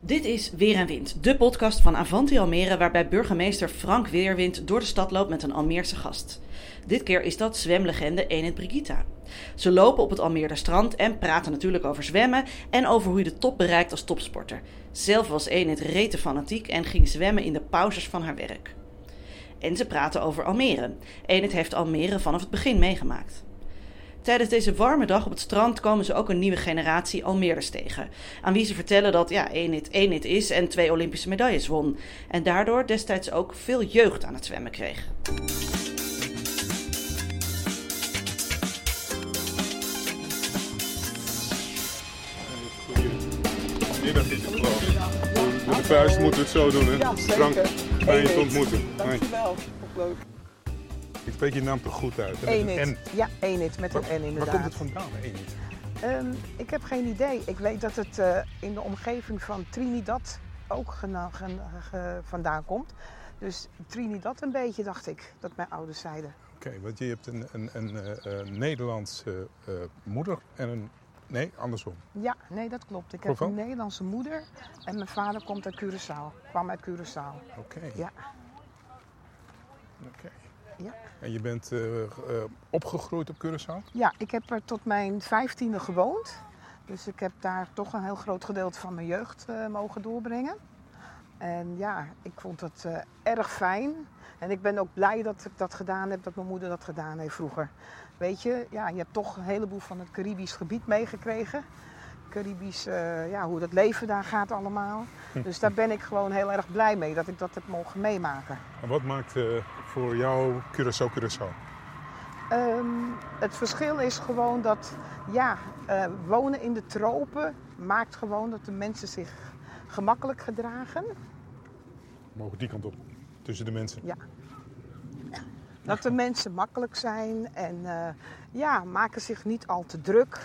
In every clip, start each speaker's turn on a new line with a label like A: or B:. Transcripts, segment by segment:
A: Dit is Weer en Wind, de podcast van Avanti Almere, waarbij burgemeester Frank Weerwind door de stad loopt met een Almeerse gast. Dit keer is dat zwemlegende Enid Brigitta. Ze lopen op het Almeerder strand en praten natuurlijk over zwemmen en over hoe je de top bereikt als topsporter. Zelf was Enid rete fanatiek en ging zwemmen in de pauzes van haar werk. En ze praten over Almere. Enid heeft Almere vanaf het begin meegemaakt. Tijdens deze warme dag op het strand komen ze ook een nieuwe generatie Almeerders tegen. Aan wie ze vertellen dat ja, Enid Enid is en twee Olympische medailles won. En daardoor destijds ook veel jeugd aan het zwemmen kreeg.
B: Goedemiddag in de klas. Met de vuist moeten we het zo doen, hè?
C: Ja, zeker.
B: Frank, fijn je te
C: Enid.
B: ontmoeten. Hoi.
C: Dankjewel. Ook leuk.
B: Ik spreek je naam toch goed uit? hè? Met een
C: Enid.
B: N.
C: Ja, Enid met een N
B: Waar
C: inderdaad.
B: komt het vandaan, Enid?
C: Ehm, ik heb geen idee. Ik weet dat het eh, in de omgeving van Trinidad ook gena- gen- ge- vandaan komt. Dus Trinidad een beetje, dacht ik, dat mijn ouders zeiden.
B: Oké, want je hebt een, een, een eh, eh, Nederlandse eh, moeder en een... Nee, andersom.
C: Ja, nee, dat klopt. Ik heb
B: Hoeveel?
C: een Nederlandse moeder en mijn vader komt uit Curaçao. Kwam uit Curaçao.
B: Oké.
C: Ja.
B: Oké.
C: Ja.
B: En je bent eh, g- eh, opgegroeid op Curaçao?
C: Ja, ik heb er tot mijn vijftiende gewoond. Dus ik heb daar toch een heel groot gedeelte van mijn jeugd eh, mogen doorbrengen. En ja, ik vond het eh, erg fijn. En ik ben ook blij dat ik dat gedaan heb, dat mijn moeder dat gedaan heeft vroeger. Weet je, ja, je hebt toch een heleboel van het Caribisch gebied meegekregen. Caribisch, eh, ja, hoe dat leven daar gaat allemaal. Dus daar ben ik gewoon heel erg blij mee dat ik dat heb mogen meemaken.
B: En wat maakt eh, voor jou Curaçao Curaçao?
C: Ehm, het verschil is gewoon dat ja, eh, wonen in de tropen maakt gewoon dat de mensen zich gemakkelijk gedragen.
B: We mogen die kant op. Tussen de mensen.
C: Dat de mensen makkelijk zijn en eh, ja, maken zich niet al te druk.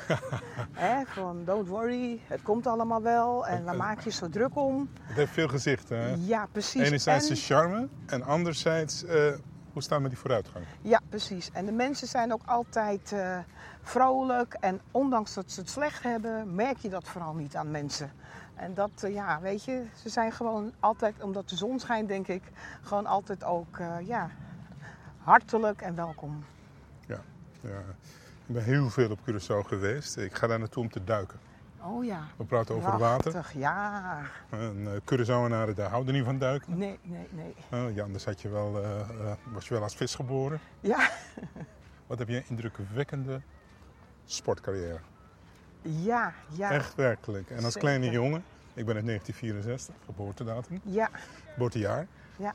C: Hè, van don't worry, het komt allemaal wel en waar maak je zo druk om?
B: Het heeft veel gezichten, hè?
C: Ja, precies.
B: Enerzijds
C: En-
B: de charme en anderzijds, eh, hoe staan we met die vooruitgang?
C: Ja, precies. En de mensen zijn ook altijd eh, vrolijk. En ondanks dat ze het slecht hebben, merk je dat vooral niet aan mensen. En dat, eh, ja, weet je, ze zijn gewoon altijd, omdat de zon schijnt, denk ik, gewoon altijd ook, eh, ja, hartelijk en welkom.
B: Ja, ik ben heel veel op Curaçao geweest. Ik ga daar naartoe om te duiken.
C: Oh ja.
B: We praten over water.
C: Prachtig, ja.
B: En eh Curaçaoënaren daar houden niet van duiken.
C: Nee, nee, nee.
B: Eh, ja, anders had je wel, eh, eh, was je wel als vis geboren.
C: Ja,
B: Wat heb je een indrukwekkende sportcarrière.
C: ja, ja.
B: Echt werkelijk. En als kleine
C: Zeker.
B: jongen, ik ben uit 1964, geboortedatum,
C: Ja,
B: geboortejaar,
C: ja.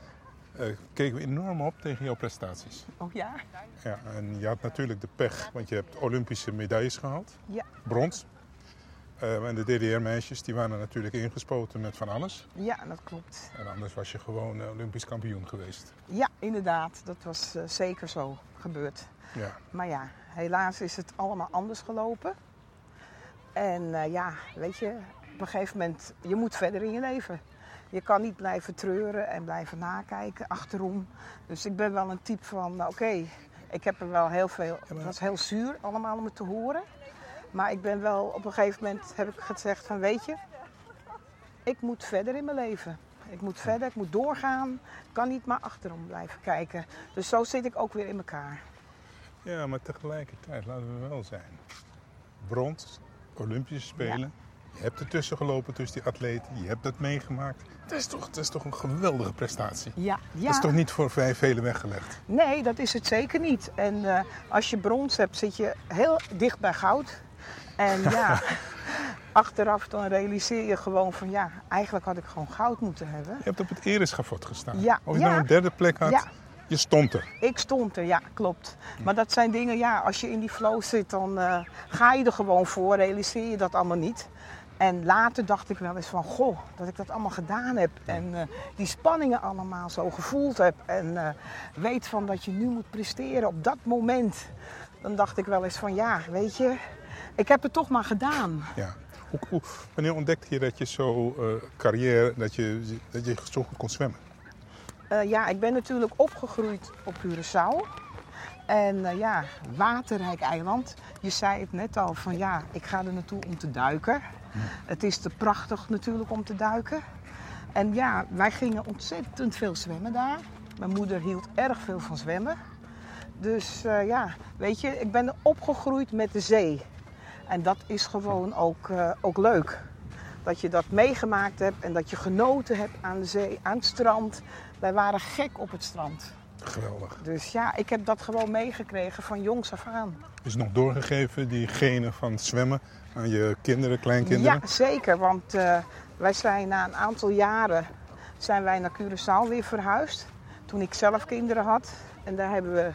B: eh, keken we enorm op tegen jouw prestaties.
C: Oh ja.
B: Ja, en je had natuurlijk de pech, want je hebt Olympische medailles gehaald.
C: Ja.
B: Brons. Eh, en de DDR-meisjes die waren natuurlijk ingespoten met van alles.
C: Ja, dat klopt.
B: En anders was je gewoon eh, Olympisch kampioen geweest.
C: Ja, inderdaad. Dat was eh, zeker zo gebeurd.
B: Ja.
C: Maar ja, helaas is het allemaal anders gelopen. En eh, ja, weet je, op een gegeven moment, je moet verder in je leven. Je kan niet blijven treuren en blijven nakijken achterom. Dus ik ben wel een type van, nou, oké, ik heb er wel heel veel... Het was heel zuur allemaal om het te horen. Maar ik ben wel, op een gegeven moment heb ik gezegd van, weet je... Ik moet verder in mijn leven. Ik moet verder, ik moet doorgaan. Ik kan niet maar achterom blijven kijken. Dus zo zit ik ook weer in elkaar.
B: ja, maar tegelijkertijd, laten we wel zijn. Brons, Olympische Spelen. Je hebt ertussen gelopen tussen die atleten. Je hebt dat meegemaakt. Dat is toch, dat is toch een geweldige prestatie.
C: Ja, ja.
B: Dat is toch niet voor vrij velen weggelegd.
C: Nee, dat is het zeker niet. En eh, als je brons hebt, zit je heel dicht bij goud. En ja, achteraf dan realiseer je gewoon van ja, eigenlijk had ik gewoon goud moeten hebben.
B: Je hebt op het ereschafot gestaan.
C: Ja,
B: Of je
C: ja.
B: nou een derde plek had,
C: Ja.
B: je stond er.
C: Ik stond er, ja, klopt. Maar dat zijn dingen, ja, als je in die flow zit, dan eh, ga je er gewoon voor, realiseer je dat allemaal niet. En later dacht ik wel eens van, goh, dat ik dat allemaal gedaan heb. En eh, die spanningen allemaal zo gevoeld heb. En eh, weet van dat je nu moet presteren op dat moment. Dan dacht ik wel eens van, ja, weet je, ik heb het toch maar gedaan.
B: Ja. Hoe, hoe- wanneer ontdekte je dat je zo eh, carrière, dat je, dat je zo goed kon zwemmen?
C: Eh, ja, ik ben natuurlijk opgegroeid op Curaçao. En eh, ja, waterrijk eiland. Je zei het net al van ja, ik ga er naartoe om te duiken. Het is te prachtig natuurlijk om te duiken. En ja, wij gingen ontzettend veel zwemmen daar. Mijn moeder hield erg veel van zwemmen. Dus eh, ja, weet je, ik ben opgegroeid met de zee. En dat is gewoon ook, eh, ook leuk. Dat je dat meegemaakt hebt en dat je genoten hebt aan de zee, aan het strand. Wij waren gek op het strand.
B: Geweldig.
C: Dus ja, ik heb dat gewoon meegekregen van jongs af aan.
B: Is nog doorgegeven, die genen van het zwemmen aan je kinderen, kleinkinderen?
C: Ja, zeker. Want eh, wij zijn na een aantal jaren zijn wij naar Curaçao weer verhuisd. Toen ik zelf kinderen had. En daar hebben we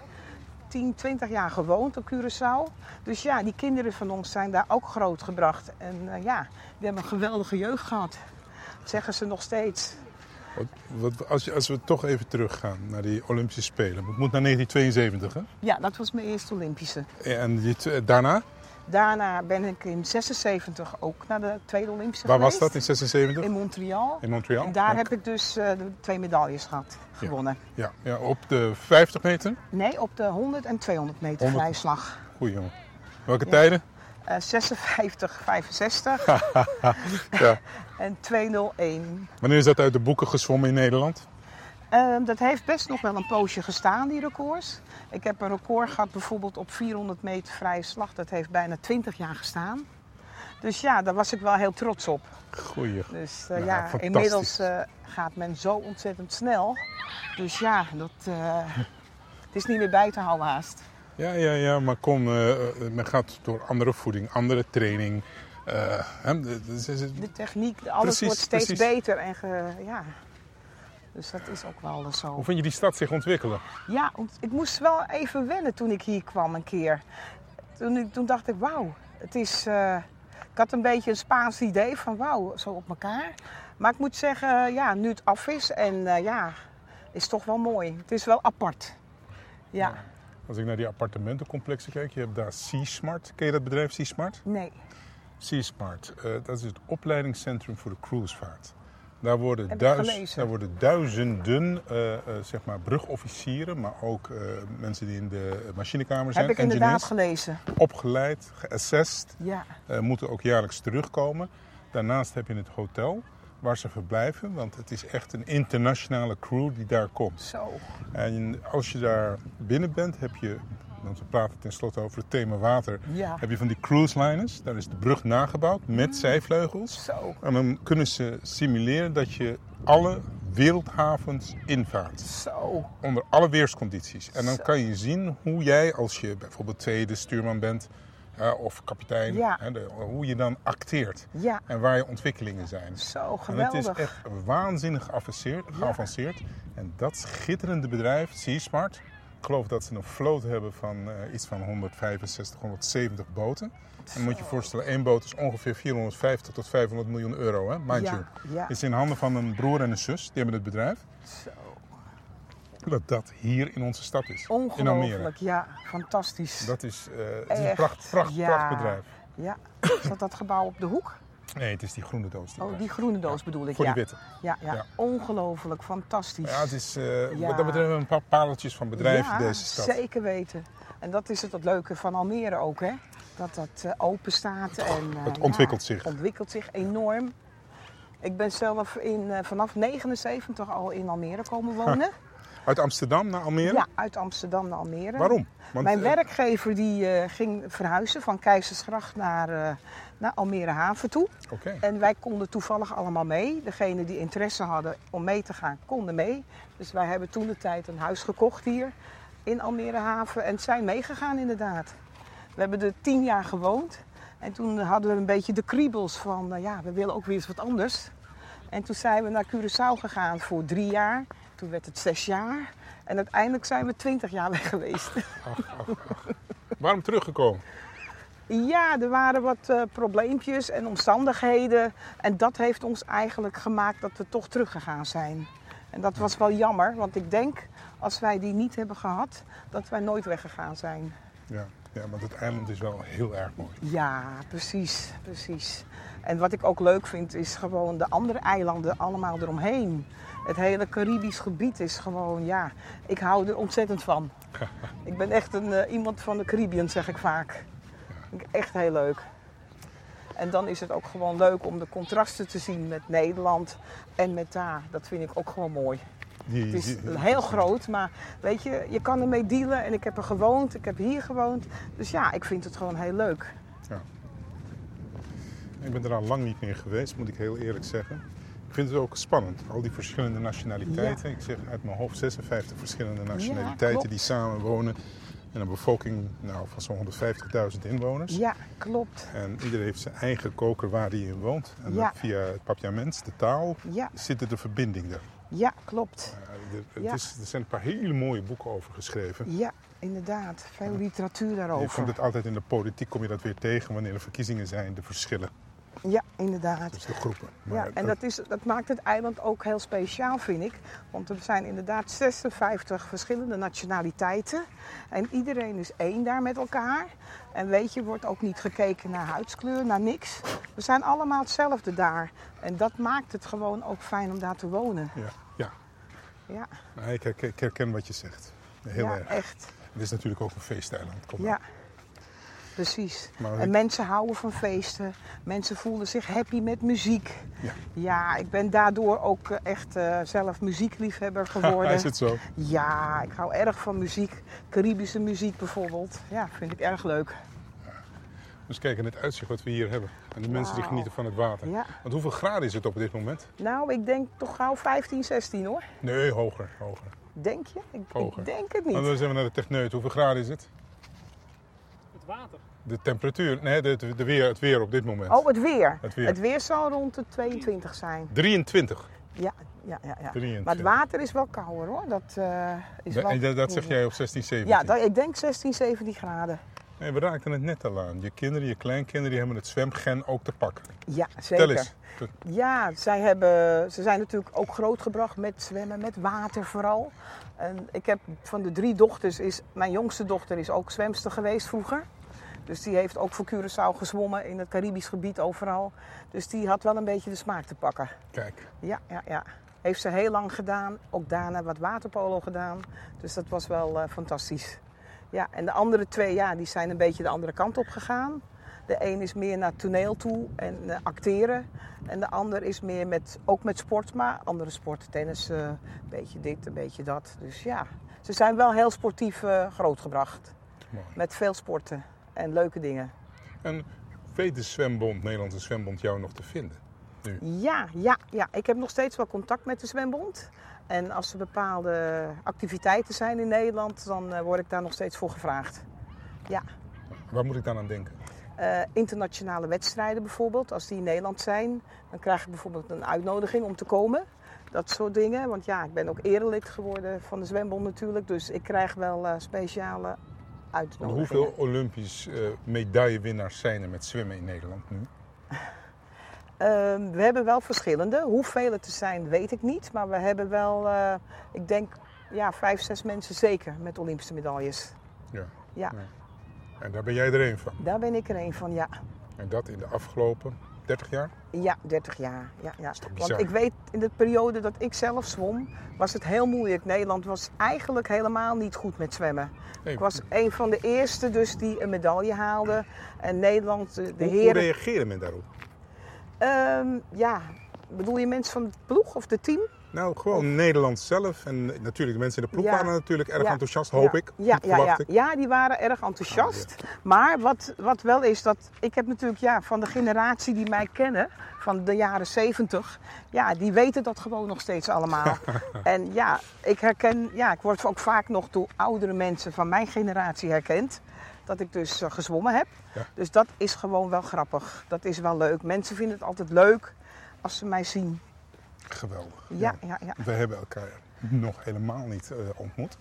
C: 10, 20 jaar gewoond op Curaçao. Dus ja, die kinderen van ons zijn daar ook grootgebracht. En eh, ja, die hebben een geweldige jeugd gehad. Dat zeggen ze nog steeds.
B: Wat, wat- als, je- als we toch even teruggaan naar die Olympische Spelen. Het moet naar 1972, hè?
C: Ja, dat was mijn eerste Olympische.
B: En die tw- daarna?
C: Daarna ben ik in 76 ook naar de Tweede Olympische
B: Waar was
C: geweest.
B: dat in 76?
C: In Montreal.
B: In Montreal?
C: En daar
B: Ja.
C: heb ik dus eh, de twee medailles gehad, gewonnen.
B: Ja, ja, op de 50 meter.
C: Nee, op de 100 en 200 meter
B: 100.
C: vrijslag.
B: Goeie jongen. Welke
C: Ja.
B: tijden?
C: Eh 56, 65
B: Ja.
C: en 201.
B: Wanneer is dat uit de boeken gezwommen in Nederland?
C: Ehm, dat heeft best nog wel een poosje gestaan, die records. Ik heb een record gehad bijvoorbeeld op 400 meter vrije slag. Dat heeft bijna 20 jaar gestaan. Dus ja, daar was ik wel heel trots op.
B: Goeie.
C: Dus eh,
B: Ja,
C: ja,
B: fantastisch.
C: inmiddels eh, gaat men zo ontzettend snel. Dus ja, dat, eh, het is niet meer bij te houden haast.
B: Ja, ja, ja, maar kom, eh, eh, men gaat door andere voeding, andere training. eh, hè, d- d- z- z-
C: De techniek, alles
B: Precies,
C: wordt steeds
B: precies.
C: beter. En ge- ja. Dus dat is ook wel zo.
B: hoe vind je die stad zich ontwikkelen?
C: Ja, ont- ik moest wel even wennen toen ik hier kwam een keer. Toen, ik- toen dacht ik, wauw, het is... eh, ik had een beetje een Spaans idee van wauw, zo op elkaar. Maar ik moet zeggen, ja, nu het af is en eh, ja, is toch wel mooi. Het is wel apart. Ja,
B: Als ik naar die appartementencomplexen kijk, je hebt daar C-Smart. Ken je dat bedrijf C-Smart?
C: nee.
B: C-Smart, eh, dat is het opleidingscentrum voor de cruisevaart. Daar worden,
C: Heb ik
B: duiz-
C: gelezen.
B: daar worden duizenden eh, eh, zeg maar brugofficieren, maar ook eh, mensen die in de machinekamer zijn,
C: Heb ik inderdaad
B: engineers,
C: gelezen.
B: opgeleid, geassessed.
C: Ja,
B: eh, moeten ook jaarlijks terugkomen. Daarnaast heb je het hotel waar ze verblijven, want het is echt een internationale crew die daar komt.
C: zo.
B: En als je daar binnen bent, heb je, want we praten tenslotte over het thema water,
C: Ja, Mm.
B: heb je van die cruise liners. Daar is de brug nagebouwd met zijvleugels.
C: zo.
B: En dan kunnen ze simuleren dat je alle wereldhavens invaart
C: Zo.
B: onder alle weerscondities. En dan
C: Zo.
B: kan je zien hoe jij, als je bijvoorbeeld tweede stuurman bent hè, of kapitein,
C: Ja.
B: hè, de- hoe je dan acteert
C: Ja,
B: en waar je ontwikkelingen zijn.
C: zo
B: En het is
C: geweldig.
B: echt waanzinnig geavanceerd. geavanceerd. En dat schitterende bedrijf, Seasmart, ik geloof dat ze een vloot hebben van eh, iets van 165, 170 boten. En dan moet je je voorstellen, één boot is ongeveer 450 tot 500 miljoen euro, hè? mind
C: ja,
B: you.
C: ja,
B: Is in handen van een broer en een zus, die hebben het bedrijf
C: zo.
B: dat dat hier in onze stad is. In Almere.
C: Ongelooflijk, ja. Fantastisch.
B: Dat is, eh, het is een
C: Echt,
B: pracht, pracht,
C: ja.
B: pracht bedrijf.
C: Ja, zat dat gebouw op de hoek?
B: Nee, het is die groene doos. Die
C: Oh,
B: daar
C: die
B: is.
C: groene doos bedoel ik,
B: Voor
C: ja.
B: die witte.
C: Ja, ja.
B: Ja.
C: Ongelooflijk, fantastisch.
B: Ja, het is, eh,
C: Ja.
B: Wat dat betreft een paar pareltjes van bedrijven
C: Ja,
B: in deze stad.
C: zeker weten. En dat is het, het leuke van Almere ook, hè. Dat dat eh, open staat en... eh,
B: Het ontwikkelt
C: ja,
B: zich.
C: ontwikkelt zich enorm. Ik ben zelf in, eh, vanaf 79 al in Almere komen wonen.
B: Uit Amsterdam naar Almere?
C: Ja, uit Amsterdam naar Almere.
B: Waarom? Want,
C: Mijn
B: eh,
C: werkgever die eh, ging verhuizen van Keizersgracht naar, eh, naar Almere Haven toe.
B: Oké.
C: En wij konden toevallig allemaal mee. Degenen die interesse hadden om mee te gaan, konden mee. Dus wij hebben toen de tijd een huis gekocht hier in Almere Haven en zijn meegegaan inderdaad. We hebben er tien jaar gewoond en toen hadden we een beetje de kriebels van, nou ja, we willen ook weer eens wat anders. En toen zijn we naar Curaçao gegaan voor drie jaar. Toen werd het zes jaar. En uiteindelijk zijn we twintig jaar weg geweest.
B: Waarom teruggekomen?
C: Ja, er waren wat eh, probleempjes en omstandigheden. En dat heeft ons eigenlijk gemaakt dat we toch teruggegaan zijn. En dat was wel jammer, want ik denk als wij die niet hebben gehad, dat wij nooit weggegaan zijn.
B: Ja. ja, want het eiland is wel heel erg mooi.
C: Ja, precies, precies. En wat ik ook leuk vind is gewoon de andere eilanden allemaal eromheen. Het hele Caribisch gebied is gewoon, ja, ik hou er ontzettend van. ik ben echt een, eh, iemand van de Caribbean, zeg ik vaak. Vind ik Echt heel leuk. En dan is het ook gewoon leuk om de contrasten te zien met Nederland en met daar. Dat vind ik ook gewoon mooi.
B: Die,
C: Het is
B: die-
C: heel groot, maar weet je, je kan ermee dealen. En ik heb er gewoond, ik heb hier gewoond. Dus ja, ik vind het gewoon heel leuk.
B: Ik ben er al lang niet meer geweest, moet ik heel eerlijk zeggen. Ik vind het ook spannend, al die verschillende nationaliteiten. Ik zeg uit mijn hoofd 56 verschillende nationaliteiten
C: klopt.
B: die samen wonen. En een bevolking nou, van zo'n 150.000 inwoners.
C: Ja, klopt.
B: En ieder heeft zijn eigen koker waar hij in woont. En
C: Ja.
B: dat via het papiaments, de taal,
C: Ja,
B: zit er de verbinding er.
C: ja, klopt.
B: Eh, er, het
C: Ja.
B: is, er zijn een paar hele mooie boeken over geschreven.
C: Ja, inderdaad. Veel literatuur
B: Je
C: daarover.
B: komt het altijd in de politiek, kom je dat weer tegen wanneer er verkiezingen zijn, de verschillen
C: Ja, inderdaad.
B: tussen de groepen.
C: Ja, en dat, is, dat maakt het eiland ook heel speciaal, vind ik. Want er zijn inderdaad 56 verschillende nationaliteiten. En iedereen is één daar met elkaar. En weet je, wordt ook niet gekeken naar huidskleur, naar niks. We zijn allemaal hetzelfde daar. En dat maakt het gewoon ook fijn om daar te wonen.
B: Ja, ja.
C: Ja,
B: Nee, ik, herken, ik herken wat je zegt. Heel
C: ja
B: erg.
C: echt.
B: Het is natuurlijk ook een feesteiland. Kom
C: Ja, precies.
B: Maar
C: En
B: ik-
C: mensen houden van feesten. Mensen voelen zich happy met muziek.
B: Ja.
C: Ja, ik ben daardoor ook eh, echt eh, zelf muziekliefhebber geworden.
B: Hij is het zo.
C: Ja, ik hou erg van muziek. Caribische muziek bijvoorbeeld. Ja, vind ik erg leuk.
B: Dus kijk in het uitzicht wat we hier hebben. En de mensen die
C: Wauw.
B: genieten van het water.
C: Ja.
B: Want hoeveel graden is het op dit moment?
C: Nou, ik denk toch gauw 15, 16 hoor.
B: Nee, hoger. hoger.
C: Denk je? Ik, ik
B: Hoger.
C: denk het
B: Dan
C: niet.
B: zijn we naar de techneut. Hoeveel graden is het?
D: Het water.
B: De temperatuur. Nee, de, de- de weer, het weer op dit moment.
C: Oh, het weer.
B: Het weer.
C: zal rond de 22 zijn.
B: 23.
C: Ja, ja, ja. ja.
B: 23.
C: Maar het water is wel kouder hoor. Dat, eh, is wel...
B: En dat, dat zeg jij op 16, 17.
C: Ja, dat, ik denk 16, 17 graden.
B: Nee, we raakten het net al aan. Je kinderen, je kleinkinderen, die hebben het zwemgen ook te pakken.
C: Ja, zeker.
B: Tel eens.
C: Ja, zij hebben, ze zijn natuurlijk ook grootgebracht met zwemmen, met water vooral. En ik heb van de drie dochters, is, mijn jongste dochter is ook zwemster geweest vroeger. Dus die heeft ook voor Curaçao gezwommen in het Caribisch gebied overal. Dus die had wel een beetje de smaak te pakken.
B: Kijk,
C: Ja, ja, ja. Heeft ze heel lang gedaan. Ook daarna wat waterpolo gedaan. Dus dat was wel eh, fantastisch. Ja, en de andere twee, ja, die zijn een beetje de andere kant op gegaan. De een is meer naar toneel toe en eh, acteren. En de ander is meer met, ook met sport, maar andere sporten. Tennis, eh, een beetje dit, een beetje dat. Dus ja, ze zijn wel heel sportief eh, grootgebracht.
B: mooi.
C: Met veel sporten en leuke dingen.
B: En weet de zwembond, Nederlandse zwembond, jou nog te vinden?
C: Ja, ja, ja. Ik heb nog steeds wel contact met de zwembond. En als er bepaalde activiteiten zijn in Nederland, dan eh, word ik daar nog steeds voor gevraagd.
B: Waar moet ik dan aan denken?
C: Eh, internationale wedstrijden bijvoorbeeld, als die in Nederland zijn, dan krijg ik bijvoorbeeld een uitnodiging om te komen. Dat soort dingen. Want ja, ik ben ook erelid geworden van de zwembond natuurlijk. Dus ik krijg wel eh, speciale
B: Want
C: uitnodigingen.
B: hoeveel Olympisch eh, medaillewinnaars zijn er met zwemmen in Nederland nu?
C: Ehm, we hebben wel verschillende. Hoeveel het er zijn, weet ik niet. Maar we hebben wel, eh, ik denk, ja, vijf, zes mensen zeker met Olympische medailles.
B: Ja.
C: Ja.
B: En daar ben jij er een van.
C: Daar ben ik er een van, ja.
B: En dat in de afgelopen 30 jaar?
C: Ja, 30 jaar. Ja, ja.
B: toch bizar?
C: Want ik weet, in de periode dat ik zelf zwom, was het heel moeilijk. Nederland was eigenlijk helemaal niet goed met zwemmen.
B: Nee,
C: Ik was een van de eerste dus die een medaille haalde. En Nederland, eh, de
B: hoe, hoe
C: heren...
B: reageerde men daarop?
C: Ehm, ja, bedoel je mensen van het ploeg of de team?
B: Nou, gewoon Nederland zelf en natuurlijk de mensen in de ploeg
C: Ja.
B: waren natuurlijk erg
C: Ja.
B: enthousiast, hoop
C: ja.
B: ik.
C: Ja, ja, ja.
B: verwacht ik. Ah,
C: ja, die waren erg enthousiast. Maar wat, wat wel is, dat ik heb natuurlijk ja, van de generatie die mij kennen, van de jaren 70, ja, die weten dat gewoon nog steeds allemaal. en ja, ik herken, ja, ik word ook vaak nog door oudere mensen van mijn generatie herkend. Dat ik dus eh, gezwommen heb.
B: Ja.
C: Dus dat is gewoon wel grappig. Dat is wel leuk. Mensen vinden het altijd leuk als ze mij zien.
B: Geweldig.
C: Ja, ja, ja.
B: We hebben elkaar nog helemaal niet eh, ontmoet.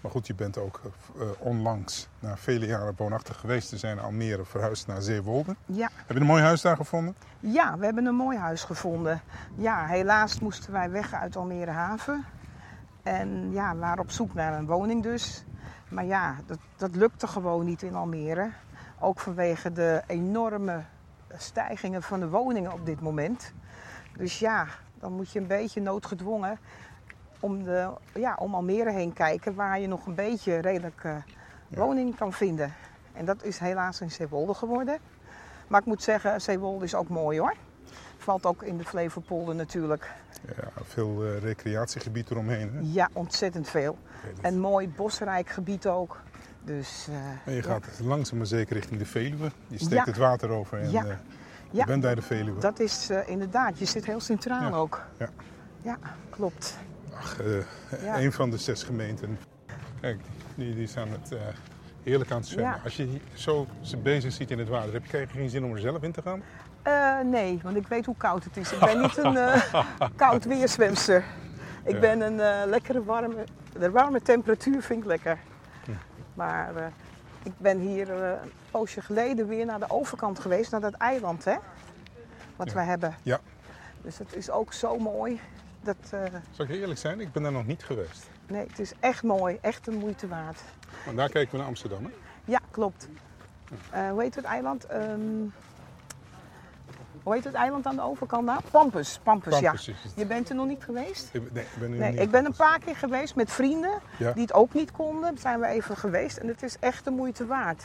B: Maar goed, je bent ook eh, onlangs, na vele jaren woonachtig geweest te zijn, in Almere verhuisd naar Zeewolde.
C: ja.
B: Heb je een mooi huis daar gevonden?
C: Ja, we hebben een mooi huis gevonden. Ja, helaas moesten wij weg uit Almere Haven. En ja, we waren op zoek naar een woning dus. Maar ja, dat, dat lukte gewoon niet in Almere. Ook vanwege de enorme stijgingen van de woningen op dit moment. Dus ja, dan moet je een beetje noodgedwongen om, de, ja, om Almere heen kijken waar je nog een beetje redelijk eh, woning kan vinden. En dat is helaas in Zeewolde geworden. Maar ik moet zeggen, Zeewolde is ook mooi hoor. Valt ook in de Flevopolder natuurlijk.
B: Ja, veel eh, recreatiegebied eromheen. Hè?
C: Ja, ontzettend veel.
B: En,
C: Een mooi bosrijk gebied ook. Dus eh,
B: je
C: ja,
B: gaat langzaam maar zeker richting de Veluwe. Je steekt
C: Ja.
B: het water over en
C: Ja.
B: eh, je
C: Ja.
B: bent bij de Veluwe.
C: dat is eh, inderdaad. Je zit heel centraal
B: Ja,
C: ook.
B: ja.
C: ja, klopt.
B: Ach, eh,
C: Ja.
B: Een van de zes gemeenten. Kijk, die, die staan het eh, heerlijk aan het zwemmen.
C: Ja.
B: Als je hier zo ze bezig ziet in het water, heb je eigenlijk geen zin om er zelf in te gaan?
C: Eh, nee, want ik weet hoe koud het is. Ik ben niet een eh, koud weerzwemster. Ik
B: Ja.
C: ben een eh, lekkere warme... De warme temperatuur vind ik lekker. Maar eh, ik ben hier eh, een poosje geleden weer naar de overkant geweest. Naar dat eiland, hè? Wat
B: Ja.
C: we hebben.
B: Ja.
C: Dus het is ook zo mooi. Dat, eh,
B: Zal ik je eerlijk zijn, ik ben daar nog niet geweest.
C: nee, het is echt mooi. Echt de moeite waard.
B: Want daar kijken we naar Amsterdam. Hè?
C: Ja, klopt. Eh, hoe heet het eiland? Ehm, hoe heet het eiland aan de overkant nou? Pampus, Pampus, ja.
B: Pampus is het.
C: Je bent er nog niet geweest?
B: Ik, ben- nee, ik ben, nu
C: Nee,
B: niet
C: ik ben een
B: geweest.
C: paar keer geweest met vrienden
B: Ja.
C: die het ook niet konden. Zijn we even geweest en het is echt de moeite waard.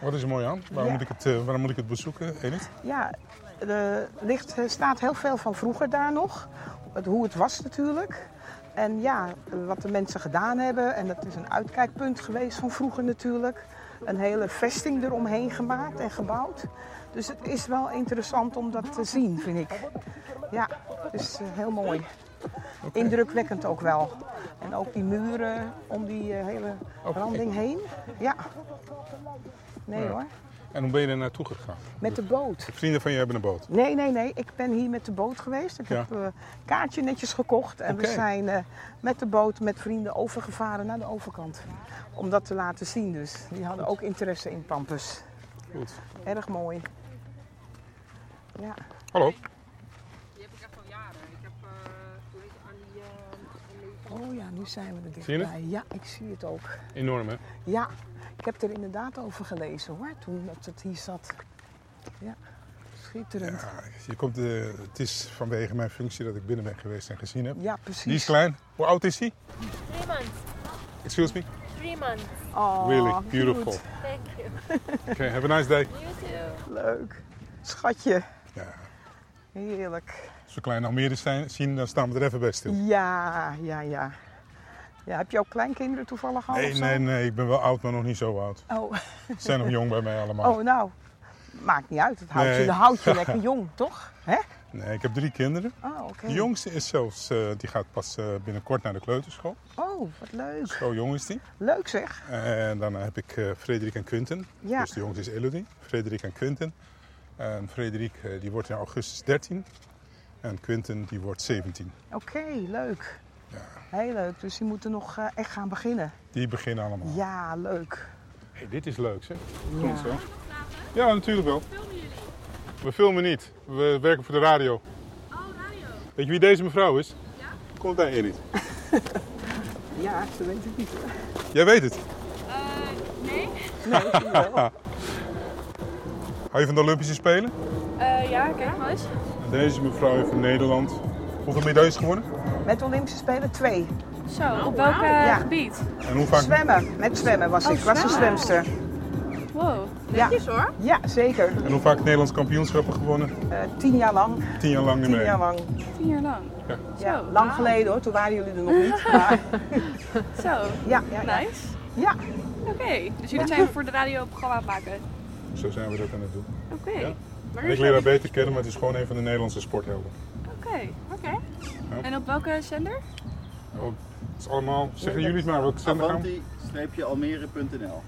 B: Wat is er mooi aan? Waarom,
C: Ja.
B: moet, ik het, eh, waarom moet ik het bezoeken, Edith?
C: Ja, er ligt, er staat heel veel van vroeger daar nog. Het- Hoe het was natuurlijk. En ja, wat de mensen gedaan hebben. En dat is een uitkijkpunt geweest van vroeger natuurlijk. Een hele vesting eromheen gemaakt en gebouwd. Dus het is wel interessant om dat te zien, vind ik. Ja, het is eh, heel mooi. Indrukwekkend ook wel. En ook die muren om die eh, hele
B: Oké.
C: randing heen. Ja. Nee
B: Ja.
C: hoor.
B: En hoe ben je er naartoe gegaan?
C: Met de boot.
B: Vrienden van je hebben een boot.
C: Nee, nee, nee. Ik ben hier met de boot geweest. Ik
B: Ja.
C: heb een kaartje netjes gekocht. En
B: Oké.
C: we zijn eh, met de boot met vrienden overgevaren naar de overkant. Om dat te laten zien dus. Die hadden ook interesse in Pampus.
B: Goed.
C: Erg mooi. Ja.
B: Hallo.
E: Die heb ik echt al jaren. Ik heb eh, toen ik aan die. eh, aan die-
C: Oh ja, nu zijn we er
B: Zie je het?
C: dichtbij. Ja, ik zie het ook.
B: Enorm, hè?
C: Ja, ik heb er inderdaad over gelezen hoor. Toen dat het hier zat. Ja, schitterend. Ja,
B: Ja, je komt, eh, het is vanwege mijn functie dat ik binnen ben geweest en gezien heb.
C: precies.
B: Die is klein. Hoe oud is hij?
F: Three months.
B: Excuse me?
F: Three months.
C: Oh,
B: really
C: cute.
B: beautiful.
F: Thank you.
B: Okay, have a nice day.
F: You too.
C: Leuk. Schatje.
B: Ja.
C: Heerlijk.
B: Als we klein Almere zijn, zien, dan staan we er even bij
C: Nou,
B: stil.
C: Ja, ja, ja. ja heb je ook kleinkinderen toevallig al?
B: Nee,
C: of zo?
B: nee, nee, ik ben wel oud, maar nog niet zo oud.
C: Oh.
B: Ze zijn nog jong bij mij allemaal.
C: oh, nou. Maakt niet uit. Het houdt,
B: Nee.
C: je, dat houdt je lekker jong, toch? Hè?
B: Nee, ik heb drie kinderen.
C: Oh, oké.
B: De jongste is zelfs, eh, die gaat pas eh, binnenkort naar de kleuterschool.
C: Oh, wat leuk.
B: Zo jong is die.
C: Leuk zeg.
B: En dan heb ik eh, Frederik en Quinten.
C: Ja.
B: Dus de jongste is Elodie, Frederik en Quinten. En Frederik eh, die wordt in augustus 13 en Quinten die wordt 17.
C: Oké, leuk. Heel leuk. Dus die moeten nog eh, echt gaan beginnen.
B: Die beginnen allemaal.
C: Ja, leuk.
B: Hey, dit is leuk, zeg.
C: Ja.
B: zo. Ja, natuurlijk wel. We filmen niet. We werken voor de radio. Oh, radio. Weet je wie deze mevrouw is? Ja. Komt daar Edith.
C: ja, ze weten het niet. hoor.
B: Jij weet het.
F: nee?
B: Hou je van de Olympische Spelen?
F: ja, kijk maar eens.
B: Deze mevrouw heeft van Nederland. Hoeveel medailles gewonnen?
C: Met Olympische Spelen twee.
F: Zo, op welk eh,
C: Oh, Ja.
F: gebied?
B: En hoe vaak?
C: Zwemmen. Met Oh, zwemmen was ik. was een
F: zwemmen.
C: zwemster.
F: Wow.
C: Ja,
E: hoor.
C: ja zeker.
B: En hoe vaak Nederlands kampioenschappen gewonnen?
C: Eh, tien jaar lang.
B: Tien jaar lang niet
C: Tien
B: meer.
C: jaar lang.
F: Tien jaar lang.
C: Ja,
F: Zo.
C: lang geleden hoor. Toen waren jullie er nog niet. Maar,
F: Zo,
C: ja, ja, ja.
F: nice.
C: Ja,
F: Oké, dus jullie zijn voor de radio een programma aan het maken.
B: Zo zijn we dat aan het doen.
F: Oké.
B: Ja.
F: Maar
B: En ik leer haar beter kennen, maar het is gewoon een van de Nederlandse sporthelden.
F: Oké. Oké. En op welke zender?
B: Oh, het is allemaal. Zeggen jullie het maar welke zender gaan? we?
G: Avanti-almere.nl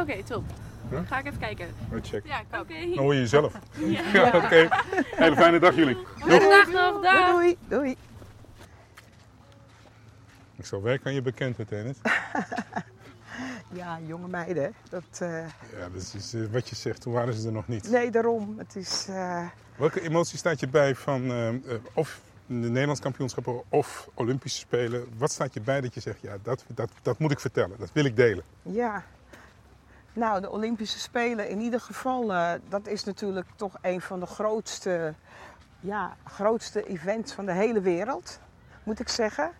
F: Oké, top.
B: Ja?
F: Ga ik even kijken.
B: We checken.
F: Ja, ik ook.
B: Oh, Dan hoor je jezelf. Ja, oké. Hele fijne dag jullie.
F: Goedendag nog,
B: Ah.
F: dag.
C: doei, doei.
B: Ik zal werken aan je bekendheid, Dennis.
C: Ja, jonge meiden, hè. dat, eh,
B: Ja, dat is eh, wat je zegt. Toen waren ze er nog niet.
C: nee, daarom. Het is, eh,
B: Welke emotie staat je bij van eh, eh, of de Nederlands kampioenschappen of Olympische Spelen? Wat staat je bij dat je zegt, ja, dat, dat, dat moet ik vertellen, dat wil ik delen?
C: ja, Nou, de Olympische Spelen in ieder geval, eh, dat is natuurlijk toch een van de grootste, ja, grootste events van de hele wereld, moet ik zeggen.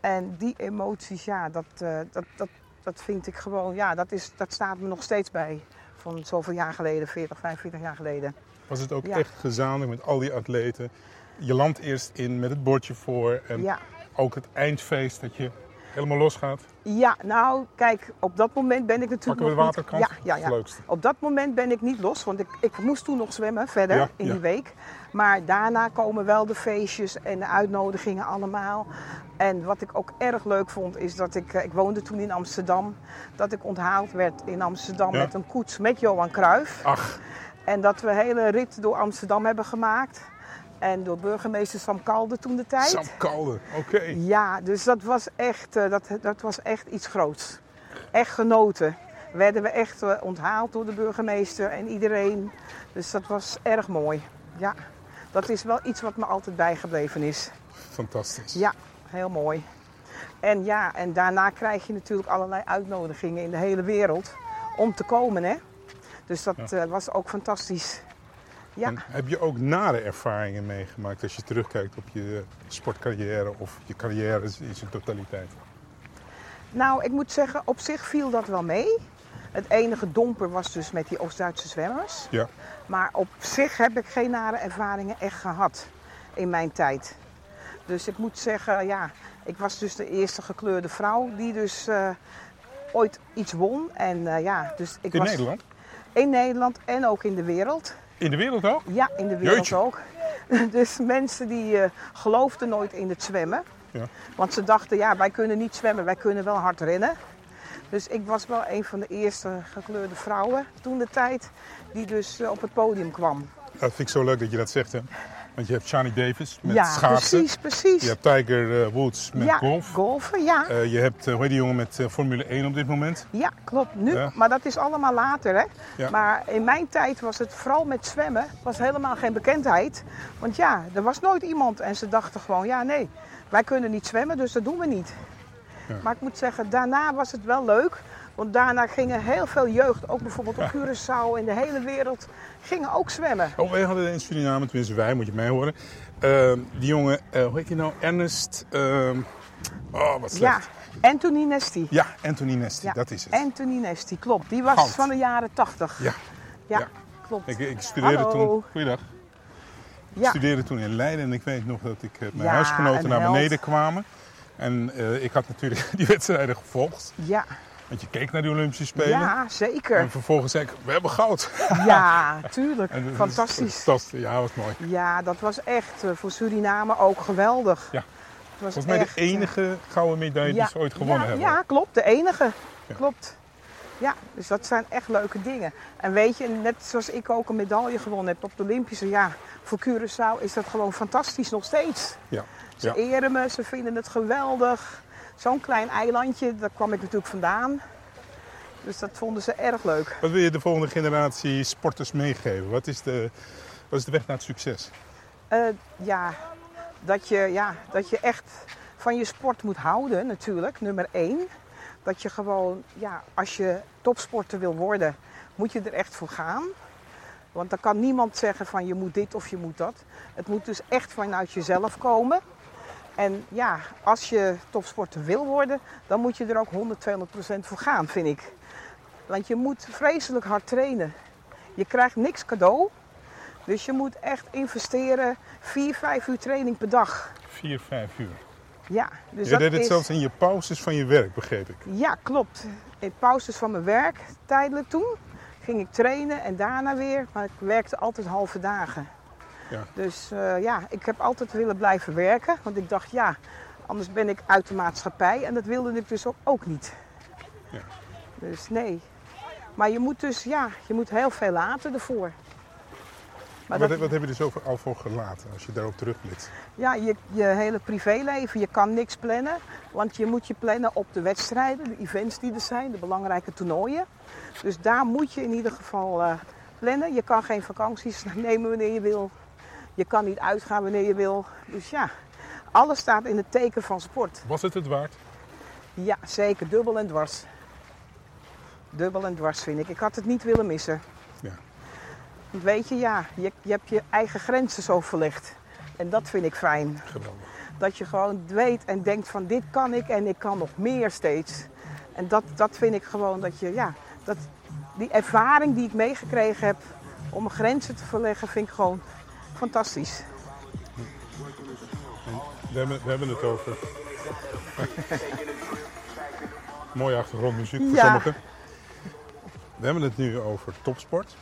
C: En die emoties, ja, dat, eh, dat, dat, dat vind ik gewoon, ja, dat, is, dat staat me nog steeds bij. Van zoveel jaar geleden, 40, 45 jaar geleden.
B: Was het ook
C: Ja.
B: echt gezamenlijk met al die atleten? Je landt eerst in met het bordje voor en
C: Ja.
B: ook het eindfeest dat je helemaal losgaat.
C: ja, nou, kijk, op dat moment ben ik natuurlijk.
B: Pakken we de
C: nog niet-
B: waterkant?
C: Ja, ja,
B: Het
C: ja.
B: leukste.
C: Op dat moment ben ik niet los, want ik, ik moest toen nog zwemmen verder
B: Ja,
C: in
B: ja.
C: die week. Maar daarna komen wel de feestjes en de uitnodigingen allemaal. En wat ik ook erg leuk vond, is dat ik, eh, ik woonde toen in Amsterdam, dat ik onthaald werd in Amsterdam
B: Ja.
C: met een koets met Johan Cruijff.
B: Ach,
C: En dat we een hele rit door Amsterdam hebben gemaakt. En door burgemeester Sam Kalde toen de tijd.
B: Sam Calder. Oké.
C: Ja, dus dat was echt, eh, dat, dat was echt iets groots. Echt genoten. Werden we echt eh, onthaald door de burgemeester en iedereen. Dus dat was erg mooi. Ja, dat is wel iets wat me altijd bijgebleven is.
B: Fantastisch.
C: Ja, heel mooi. En ja, en daarna krijg je natuurlijk allerlei uitnodigingen in de hele wereld om te komen, hè. Dus dat eh, was ook fantastisch. Ja.
B: En heb je ook nare ervaringen meegemaakt als je terugkijkt op je sportcarrière of je carrière in zijn totaliteit?
C: Nou, ik moet zeggen, op zich viel dat wel mee. Het enige domper was dus met die Oost-Duitse zwemmers.
B: Ja.
C: Maar op zich heb ik geen nare ervaringen echt gehad in mijn tijd. Dus ik moet zeggen, ja, ik was dus de eerste gekleurde vrouw die dus eh, ooit iets won. En eh, ja, dus ik
B: In
C: was
B: Nederland?
C: in Nederland en ook in de wereld.
B: In de wereld ook?
C: Ja, in de wereld
B: Jeetje.
C: ook. Dus mensen die eh, geloofden nooit in het zwemmen.
B: Ja.
C: Want ze dachten, ja, wij kunnen niet zwemmen, wij kunnen wel hard rennen. Dus ik was wel een van de eerste gekleurde vrouwen toen de tijd die dus eh, op het podium kwam.
B: Dat vind ik zo leuk dat je dat zegt, hè? Want je hebt Shani Davis met
C: ja,
B: schaatsen.
C: precies, precies.
B: Je hebt Tiger eh, Woods met
C: ja,
B: golf.
C: golfen, ja.
B: Eh, je hebt, eh, hoe heet die jongen met eh, Formule 1 op dit moment?
C: ja, klopt. Nu,
B: ja.
C: maar dat is allemaal later, hè.
B: Ja.
C: Maar in mijn tijd was het vooral met zwemmen was helemaal geen bekendheid. Want ja, er was nooit iemand en ze dachten gewoon, ja, nee, wij kunnen niet zwemmen, dus dat doen we niet.
B: Ja.
C: Maar ik moet zeggen, daarna was het wel leuk. Want daarna gingen heel veel jeugd, ook bijvoorbeeld op Curaçao en de hele wereld, gingen ook zwemmen.
B: Oh, wij hadden in Suriname, tenminste wij, moet je mij horen. Ehm, die jongen, eh, hoe heet die nou? Ernest. ehm, oh, wat
C: Ja,
B: slecht.
C: Anthony Nesty.
B: Ja, Anthony Nesty,
C: Ja,
B: dat is het.
C: Anthony Nesty, klopt. Die was
B: Goud.
C: van de jaren 80.
B: Ja,
C: Ja,
B: ja.
C: klopt.
B: ik, ik studeerde
C: Hallo.
B: toen. Goeiedag. Ik
C: ja.
B: studeerde toen in Leiden en ik weet nog dat ik eh, mijn
C: Ja,
B: huisgenoten
C: een
B: naar
C: held.
B: beneden kwamen. En eh, ik had natuurlijk die wedstrijden gevolgd.
C: ja.
B: Want je keek naar die Olympische Spelen.
C: ja,
B: En
C: zeker.
B: vervolgens zei ik, we hebben goud.
C: Ja, tuurlijk.
B: En dus- dat is
C: Fantastisch.
B: Fantastisch, ja, was mooi.
C: Ja, dat was echt eh, voor Suriname ook geweldig.
B: Ja.
C: Het was
B: Volgens mij
C: echt,
B: de
C: eh,
B: enige gouden medaille die
C: ja,
B: ze ooit gewonnen
C: ja,
B: hebben.
C: Ja, klopt. De enige.
B: Ja.
C: Klopt. Ja, dus dat zijn echt leuke dingen. En weet je, net zoals ik ook een medaille gewonnen heb op de Olympische, ja, voor Curaçao is dat gewoon fantastisch nog steeds.
B: Ja,
C: Ze
B: ja.
C: eren me, ze vinden het geweldig. Zo'n klein eilandje, daar kwam ik natuurlijk vandaan. Dus dat vonden ze erg leuk.
B: Wat wil je de volgende generatie sporters meegeven? Wat is de, wat is de weg naar het succes?
C: Eh, ja, dat je, ja, dat je echt van je sport moet houden natuurlijk, nummer één. Dat je gewoon, ja, als je topsporter wil worden, moet je er echt voor gaan. Want dan kan niemand zeggen van je moet dit of je moet dat. Het moet dus echt vanuit jezelf komen. En ja, als je topsporter wil worden, dan moet je er ook 100, 200 procent voor gaan, vind ik. Want je moet vreselijk hard trainen. Je krijgt niks cadeau. Dus je moet echt investeren 4, 5 uur training per dag.
B: Vier, vijf uur.
C: Ja, dus
B: je
C: dat
B: deed het
C: is...
B: zelfs in je pauzes van je werk, begreep ik.
C: Ja, klopt. In pauzes van mijn werk, tijdelijk toen, ging ik trainen en daarna weer. Maar ik werkte altijd halve dagen.
B: Ja.
C: Dus eh, ja, ik heb altijd willen blijven werken. Want ik dacht, ja, anders ben ik uit de maatschappij. En dat wilde ik dus ook, ook niet.
B: Ja.
C: Dus nee. Maar je moet dus, ja, je moet heel veel laten ervoor. Maar
B: wat,
C: dat-
B: wat heb je er zo voor- al voor gelaten als je daarop terugblikt?
C: Ja, je, je hele privéleven, je kan niks plannen. Want je moet je plannen op de wedstrijden, de events die er zijn, de belangrijke toernooien. Dus daar moet je in ieder geval eh, plannen. Je kan geen vakanties nemen wanneer je wil. Je kan niet uitgaan wanneer je wil. Dus ja, alles staat in het teken van sport.
B: Was het het waard?
C: Ja, zeker, dubbel en dwars. dubbel en dwars vind ik. Ik had het niet willen missen.
B: Ja.
C: Want Weet je, ja, je, je hebt je eigen grenzen zo verlegd. En dat vind ik fijn.
B: Geweldig.
C: Dat je gewoon weet en denkt van dit kan ik en ik kan nog meer steeds. En dat, dat vind ik gewoon dat je, ja, dat, die ervaring die ik meegekregen heb om mijn grenzen te verleggen, vind ik gewoon fantastisch.
B: We hebben, we hebben het over. Mooie achtergrondmuziek voor
C: Ja.
B: sommigen. We hebben het nu over topsport.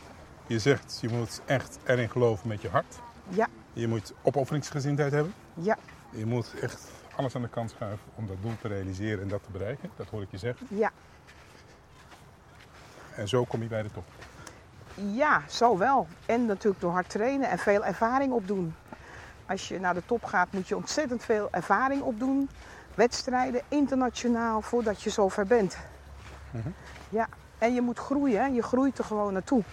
B: Je zegt, je moet echt erin geloven met je hart.
C: Ja,
B: Je moet opofferingsgezindheid hebben.
C: ja,
B: Je moet echt alles aan de kant schuiven om dat doel te realiseren en dat te bereiken. Dat hoor ik je zeggen.
C: ja.
B: En zo kom je bij de top.
C: Ja, zo wel. En natuurlijk door hard trainen en veel ervaring opdoen. Als je naar de top gaat, moet je ontzettend veel ervaring opdoen. Wedstrijden, internationaal, voordat je zover bent.
B: Mhm.
C: Ja, en je moet groeien. hè. Je groeit er gewoon naartoe.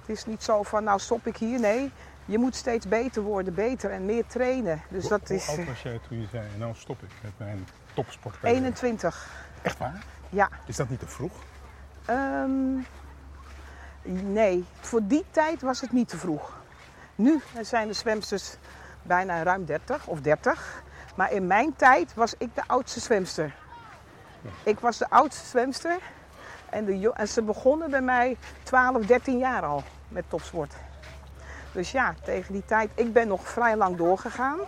C: Het is niet zo van, nou stop ik hier. Nee, je moet steeds beter worden, beter en meer trainen. Dus dat
B: Hoe
C: is
B: oud
C: eh,
B: was jij toen je zei, nou stop ik met mijn topsport.
C: 21.
B: Echt waar?
C: Ja.
B: Is dat niet te vroeg?
C: Ehm, nee, voor die tijd was het niet te vroeg. Nu zijn de zwemsters bijna ruim 30 of 30. Maar in mijn tijd was ik de oudste zwemster. Ik was de oudste zwemster. En, de, jo- en ze begonnen bij mij 12, 13 jaar al met topsport. Dus ja, tegen die tijd. Ik ben nog vrij lang doorgegaan.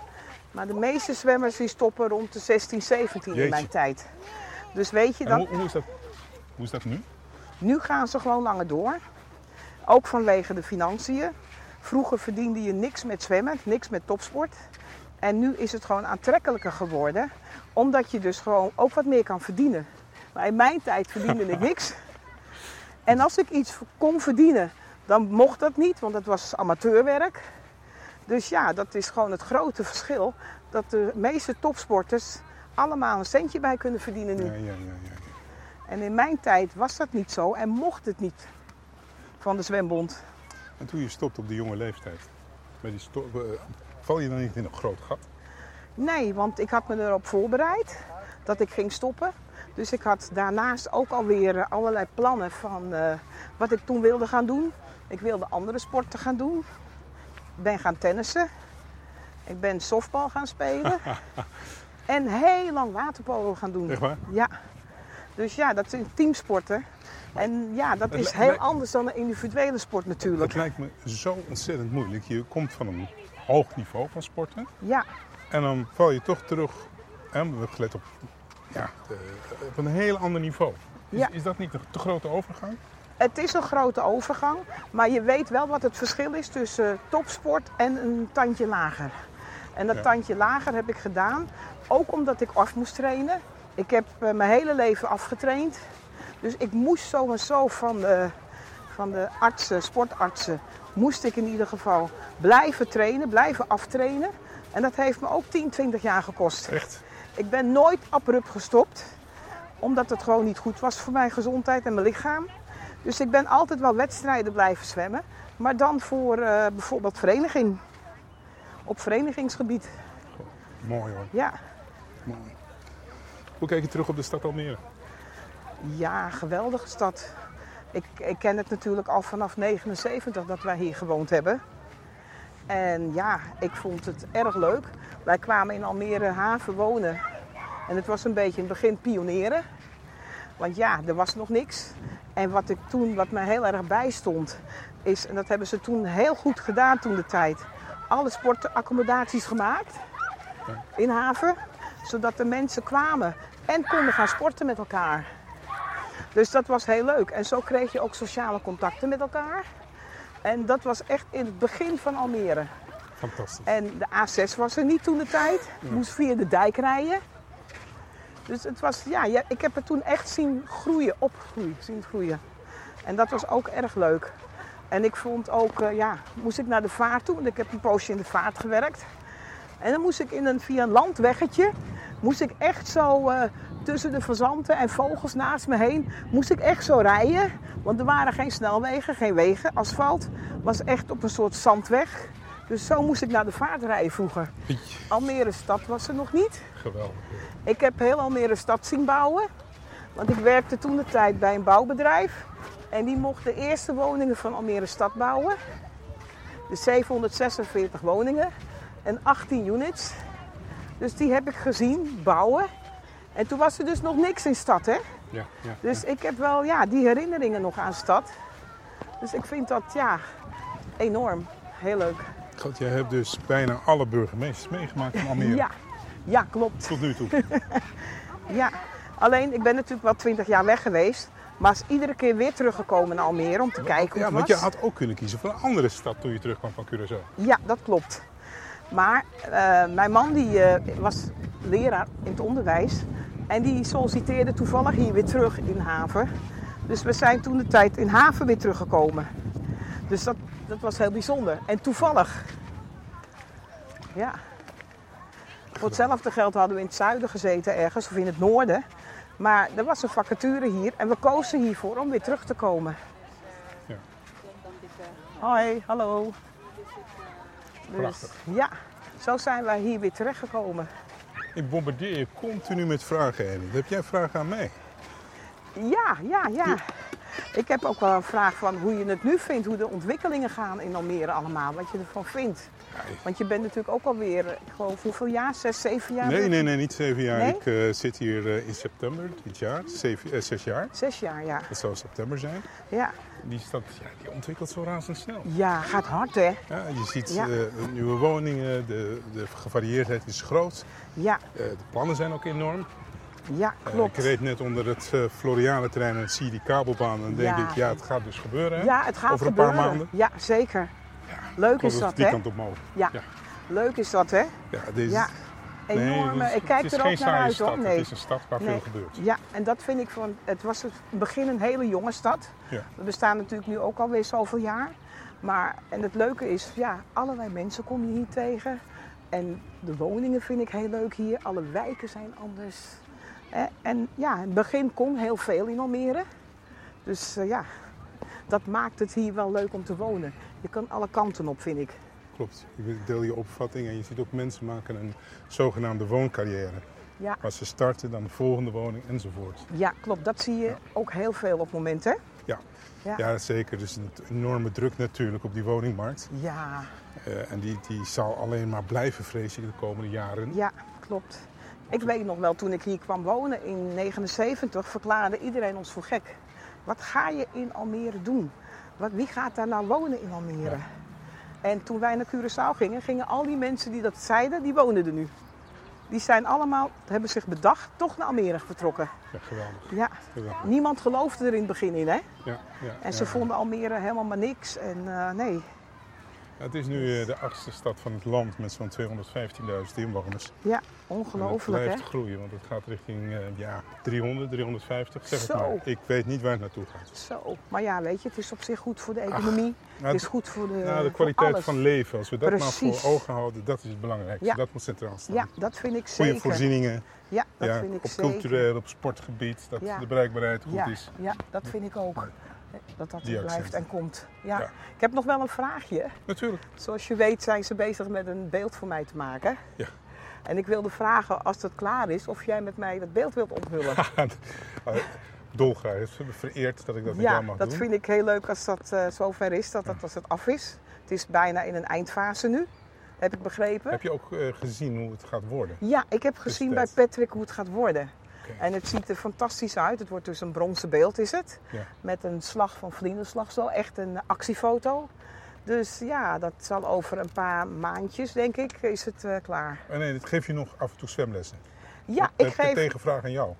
C: Maar de meeste zwemmers die stoppen rond de 16, 17 in
B: Jeetje.
C: mijn tijd. Dus weet je,
B: En
C: dan
B: hoe, hoe, is dat, hoe is dat nu?
C: nu gaan ze gewoon langer door. Ook vanwege de financiën. Vroeger verdiende je niks met zwemmen, niks met topsport. En nu is het gewoon aantrekkelijker geworden. Omdat je dus gewoon ook wat meer kan verdienen. Maar in mijn tijd verdiende ik niks. En als ik iets kon verdienen, dan mocht dat niet, want dat was amateurwerk. Dus ja, dat is gewoon het grote verschil. Dat de meeste topsporters allemaal een centje bij kunnen verdienen nu.
B: Ja, ja, ja, ja.
C: En in mijn tijd was dat niet zo en mocht het niet van de zwembond.
B: En toen je stopt op die jonge leeftijd, bij die sto- eh, val je dan niet in een groot gat?
C: Nee, want ik had me erop voorbereid dat ik ging stoppen. Dus ik had daarnaast ook alweer eh, allerlei plannen van eh, wat ik toen wilde gaan doen. Ik wilde andere sporten gaan doen. Ik ben gaan tennissen. Ik ben softbal gaan spelen. en heel lang waterpolo gaan doen.
B: Echt waar?
C: Ja. Dus ja, dat zijn teamsporten. En ja, dat
B: Het
C: is
B: lij-
C: heel
B: lijkt-
C: anders dan een individuele sport natuurlijk.
B: Dat lijkt me zo ontzettend moeilijk. Je komt van een hoog niveau van sporten
C: Ja.
B: en dan val je toch terug. En we hebben gelet op, ja, eh, op een heel ander niveau. Is,
C: Ja.
B: is dat niet een te grote overgang?
C: Het is een grote overgang, maar je weet wel wat het verschil is tussen topsport en een tandje lager. En dat
B: Ja.
C: tandje lager heb ik gedaan, ook omdat ik af moest trainen. Ik heb eh, mijn hele leven afgetraind. Dus ik moest zo en zo van de, van de artsen, sportartsen, moest ik in ieder geval blijven trainen, blijven aftrainen. En dat heeft me ook 10, 20 jaar gekost.
B: Echt?
C: Ik ben nooit abrupt gestopt, omdat het gewoon niet goed was voor mijn gezondheid en mijn lichaam. Dus ik ben altijd wel wedstrijden blijven zwemmen, maar dan voor eh, bijvoorbeeld vereniging. Op verenigingsgebied,
B: Mooi hoor.
C: ja.
B: Mooi. Hoe kijk je terug op de stad Almere?
C: Ja, geweldige stad. Ik, ik ken het natuurlijk al vanaf 79 dat wij hier gewoond hebben. En ja, ik vond het erg leuk. Wij kwamen in Almere haven wonen. En het was een beetje in het begin pionieren. Want ja, er was nog niks. En wat ik toen, wat me heel erg bijstond, is, en dat hebben ze toen heel goed gedaan toen de tijd, alle sportaccommodaties gemaakt in haven. Zodat de mensen kwamen en konden gaan sporten met elkaar. Dus dat was heel leuk. En zo kreeg je ook sociale contacten met elkaar. En dat was echt in het begin van Almere.
B: Fantastisch.
C: En de A6 was er niet toen de tijd. Je moest via de dijk rijden. Dus het was, ja, ja, ik heb het toen echt zien groeien, opgroeien, zien groeien. En dat was ook erg leuk. En ik vond ook, eh, ja, moest ik naar de vaart toe, want ik heb een poosje in de vaart gewerkt. En dan moest ik in een, via een landweggetje, moest ik echt zo eh, tussen de fazanten en vogels naast me heen, moest ik echt zo rijden. Want er waren geen snelwegen, geen wegen. Asfalt was echt op een soort zandweg. Dus zo moest ik naar de vaart rijden vroeger.
B: Pietje,
C: Almere stad was er nog niet.
B: Geweldig.
C: Ik heb heel Almere stad zien bouwen. Want ik werkte toen de tijd bij een bouwbedrijf. En die mocht de eerste woningen van Almere stad bouwen. Dus 746 woningen en 18 units. Dus die heb ik gezien bouwen. En toen was er dus nog niks in stad, hè?
B: Ja, ja.
C: Dus ik heb wel ja, die herinneringen nog aan stad. Dus ik vind dat ja, enorm. Heel leuk.
B: God, jij hebt dus bijna alle burgemeesters meegemaakt in Almere.
C: Ja, ja klopt.
B: Tot nu toe.
C: Ja. Alleen, ik ben natuurlijk wel twintig jaar weg geweest. Maar is iedere keer weer teruggekomen naar Almere om te kijken
B: ja,
C: hoe
B: want
C: het
B: je
C: was.
B: had ook kunnen kiezen voor een andere stad toen je terugkwam van Curaçao.
C: Ja, dat klopt. Maar eh, mijn man die, eh, was leraar in het onderwijs. En die solliciteerde toevallig hier weer terug in Haven. Dus we zijn toen de tijd in Haven weer teruggekomen. Dus dat, dat was heel bijzonder. En toevallig. Ja. Voor hetzelfde geld hadden we in het zuiden gezeten ergens, of in het noorden. Maar er was een vacature hier en we kozen hiervoor om weer terug te komen.
B: Ja.
C: Hoi, hallo. Dus,
B: Prachtig.
C: ja, zo zijn wij hier weer terechtgekomen.
B: Ik bombardeer je continu met vragen, Ellie. Heb jij vragen aan mij?
C: Ja, ja, ja. Ik heb ook wel een vraag van hoe je het nu vindt, hoe de ontwikkelingen gaan in Almere allemaal, wat je ervan vindt. Want je bent natuurlijk ook alweer, eh, ik geloof, hoeveel jaar? Zes, zeven jaar?
B: nee,
C: weer?
B: nee, nee, niet zeven jaar.
C: Nee?
B: Ik eh, zit hier eh, in september dit jaar. Zeven, eh, zes jaar.
C: Zes jaar, ja.
B: Dat zou september zijn.
C: Ja,
B: Die stad ja, die ontwikkelt zo razendsnel.
C: ja gaat hard hè?
B: Ja, je ziet
C: Ja.
B: eh, nieuwe woningen, de, de gevarieerdheid is groot.
C: Ja,
B: Eh, de plannen zijn ook enorm.
C: ja,
B: Eh,
C: klopt.
B: ik reed net onder het eh Floriale terrein en zie die kabelbaan. En denk
C: Ja.
B: ik, ja, het gaat dus gebeuren. hè?
C: ja, het gaat
B: Over een
C: gebeuren.
B: paar maanden.
C: Ja, zeker. Leuk
B: Komt
C: is
B: het
C: dat
B: die
C: hè?
B: kant op mogen.
C: Ja.
B: Ja.
C: leuk is dat hè?
B: Ja, deze,
C: Ja.
B: nee,
C: Enorme,
B: het is-
C: ik kijk
B: het
C: er
B: is
C: ook
B: geen
C: naar
B: saaie
C: uit
B: stad.
C: hoor. Nee.
B: Het is een stad waar
C: Nee.
B: veel gebeurt.
C: Ja, en dat vind ik van. Het was het begin een hele jonge stad.
B: Ja.
C: We bestaan natuurlijk nu ook alweer zoveel jaar. Maar, en het leuke is, ja, allerlei mensen kom je hier tegen. En de woningen vind ik heel leuk hier. Alle wijken zijn anders. Eh, En ja, in het begin kon heel veel in Almere. Dus eh, ja, dat maakt het hier wel leuk om te wonen. Je kan alle kanten op, vind ik.
B: Klopt. Ik deel je opvatting en je ziet ook mensen maken een zogenaamde wooncarrière.
C: Ja.
B: Als ze starten, dan de volgende woning enzovoort.
C: Ja, klopt. Dat zie je ook heel veel op het moment, hè?
B: Ja,
C: Ja.
B: ja. zeker. Er is een enorme druk natuurlijk op die woningmarkt.
C: Ja,
B: Eh, en die, die zal alleen maar blijven, vrees ik, de komende jaren.
C: Ja, klopt. Ik weet nog wel, toen ik hier kwam wonen in 79, verklaarde iedereen ons voor gek. Wat ga je in Almere doen? Wat, wie gaat daar nou wonen in Almere? En toen wij naar Curaçao gingen, gingen al die mensen die dat zeiden, die woonden er nu. Die zijn allemaal, hebben zich bedacht, toch naar Almere vertrokken.
B: Ja, geweldig.
C: Ja.
B: geweldig.
C: Niemand geloofde er in het begin in, hè?
B: Ja, ja,
C: En
B: ja.
C: ze vonden Almere helemaal maar niks. En eh, nee,
B: Het is nu eh, de achtste stad van het land met zo'n 215.000 inwoners.
C: ja,
B: En dat
C: ongelooflijk, hè?
B: blijft groeien, want het gaat richting eh, ja, 300, 350, zeg het
C: Zo.
B: maar. Ik weet niet waar het naartoe gaat.
C: Zo. Maar ja, weet je, het is op zich goed voor de economie.
B: Nou,
C: het is goed voor de,
B: Nou, de
C: eh, voor
B: kwaliteit
C: alles.
B: van leven, als we dat maar
C: Precies.
B: voor ogen houden, dat is het belangrijkste.
C: Ja.
B: Dat moet centraal staan.
C: Ja, dat vind ik
B: Goede
C: zeker.
B: voorzieningen
C: Ja, dat
B: ja,
C: vind ik
B: op
C: zeker.
B: cultureel, op sportgebied, dat
C: Ja.
B: de bereikbaarheid goed
C: ja,
B: is.
C: ja, dat vind ik ook. Dat dat
B: Die
C: er blijft
B: accenten.
C: en komt. Ja.
B: Ja.
C: Ik heb nog wel een vraagje.
B: Natuurlijk.
C: Zoals je weet zijn ze bezig met een beeld voor mij te maken.
B: Ja.
C: En ik wilde vragen, als dat klaar is, of jij met mij dat beeld wilt onthullen.
B: Ah, Dolgraag, het is vereerd dat ik dat met
C: ja,
B: jou mag
C: dat
B: doen.
C: vind ik heel leuk als dat eh zover is, dat, dat als het af is. Het is bijna in een eindfase nu, heb ik begrepen.
B: Heb je ook eh, gezien hoe het gaat worden?
C: Ja, ik heb gezien bij
B: dat-
C: Patrick hoe het gaat worden.
B: Oké.
C: En het ziet er fantastisch uit. Het wordt dus een bronzen beeld, is het?
B: Ja.
C: Met een slag van vlinderslag zo. Echt een actiefoto. Dus ja, dat zal over een paar maandjes, denk ik, is het eh, klaar.
B: Oh, nee, dat geef je nog af en toe zwemlessen.
C: Ja
B: Dan heb
C: ik,
B: ik een
C: geef,
B: tegenvraag aan jou.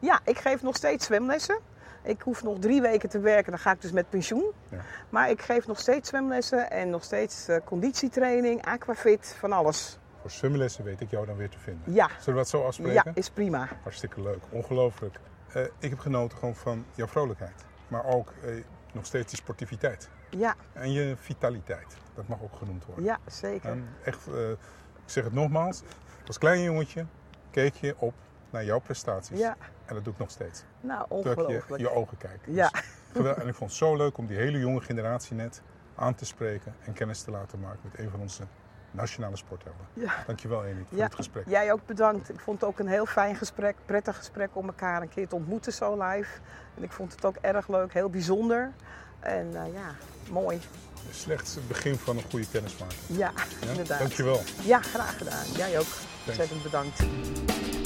C: ja, ik geef nog steeds zwemlessen. Ik hoef nog drie weken te werken, dan ga ik dus met pensioen.
B: Ja.
C: Maar ik geef nog steeds zwemlessen en nog steeds eh, conditietraining, aquafit, van alles.
B: Voor zwemlessen weet ik jou dan weer te vinden.
C: Ja,
B: Zullen we dat zo
C: ja
B: afspreken?
C: is prima.
B: Hartstikke leuk, ongelooflijk. Eh, ik heb genoten gewoon van jouw vrolijkheid. Maar ook eh, nog steeds die sportiviteit.
C: Ja,
B: En je vitaliteit. Dat mag ook genoemd worden.
C: ja zeker.
B: En echt, eh, ik zeg het nogmaals. Als klein jongetje keek je op naar jouw prestaties.
C: Ja.
B: En dat doe ik nog steeds.
C: Nou,
B: Terwijl ik
C: ongelooflijk.
B: je je ogen kijk.
C: Ja.
B: Dus gewel- en ik vond het zo leuk om die hele jonge generatie net aan te spreken en kennis te laten maken met een van onze Nationale sporthelden.
C: Ja.
B: Dankjewel Amy voor
C: Ja.
B: het gesprek.
C: Jij ook bedankt. Ik vond het ook een heel fijn gesprek, prettig gesprek om elkaar een keer te ontmoeten zo live. En ik vond het ook erg leuk, heel bijzonder. En eh, ja, mooi.
B: Slechts het begin van een goede kennismaking.
C: Ja,
B: Ja?
C: inderdaad.
B: Dankjewel.
C: Ja, graag gedaan. Jij ook. Ontzettend bedankt.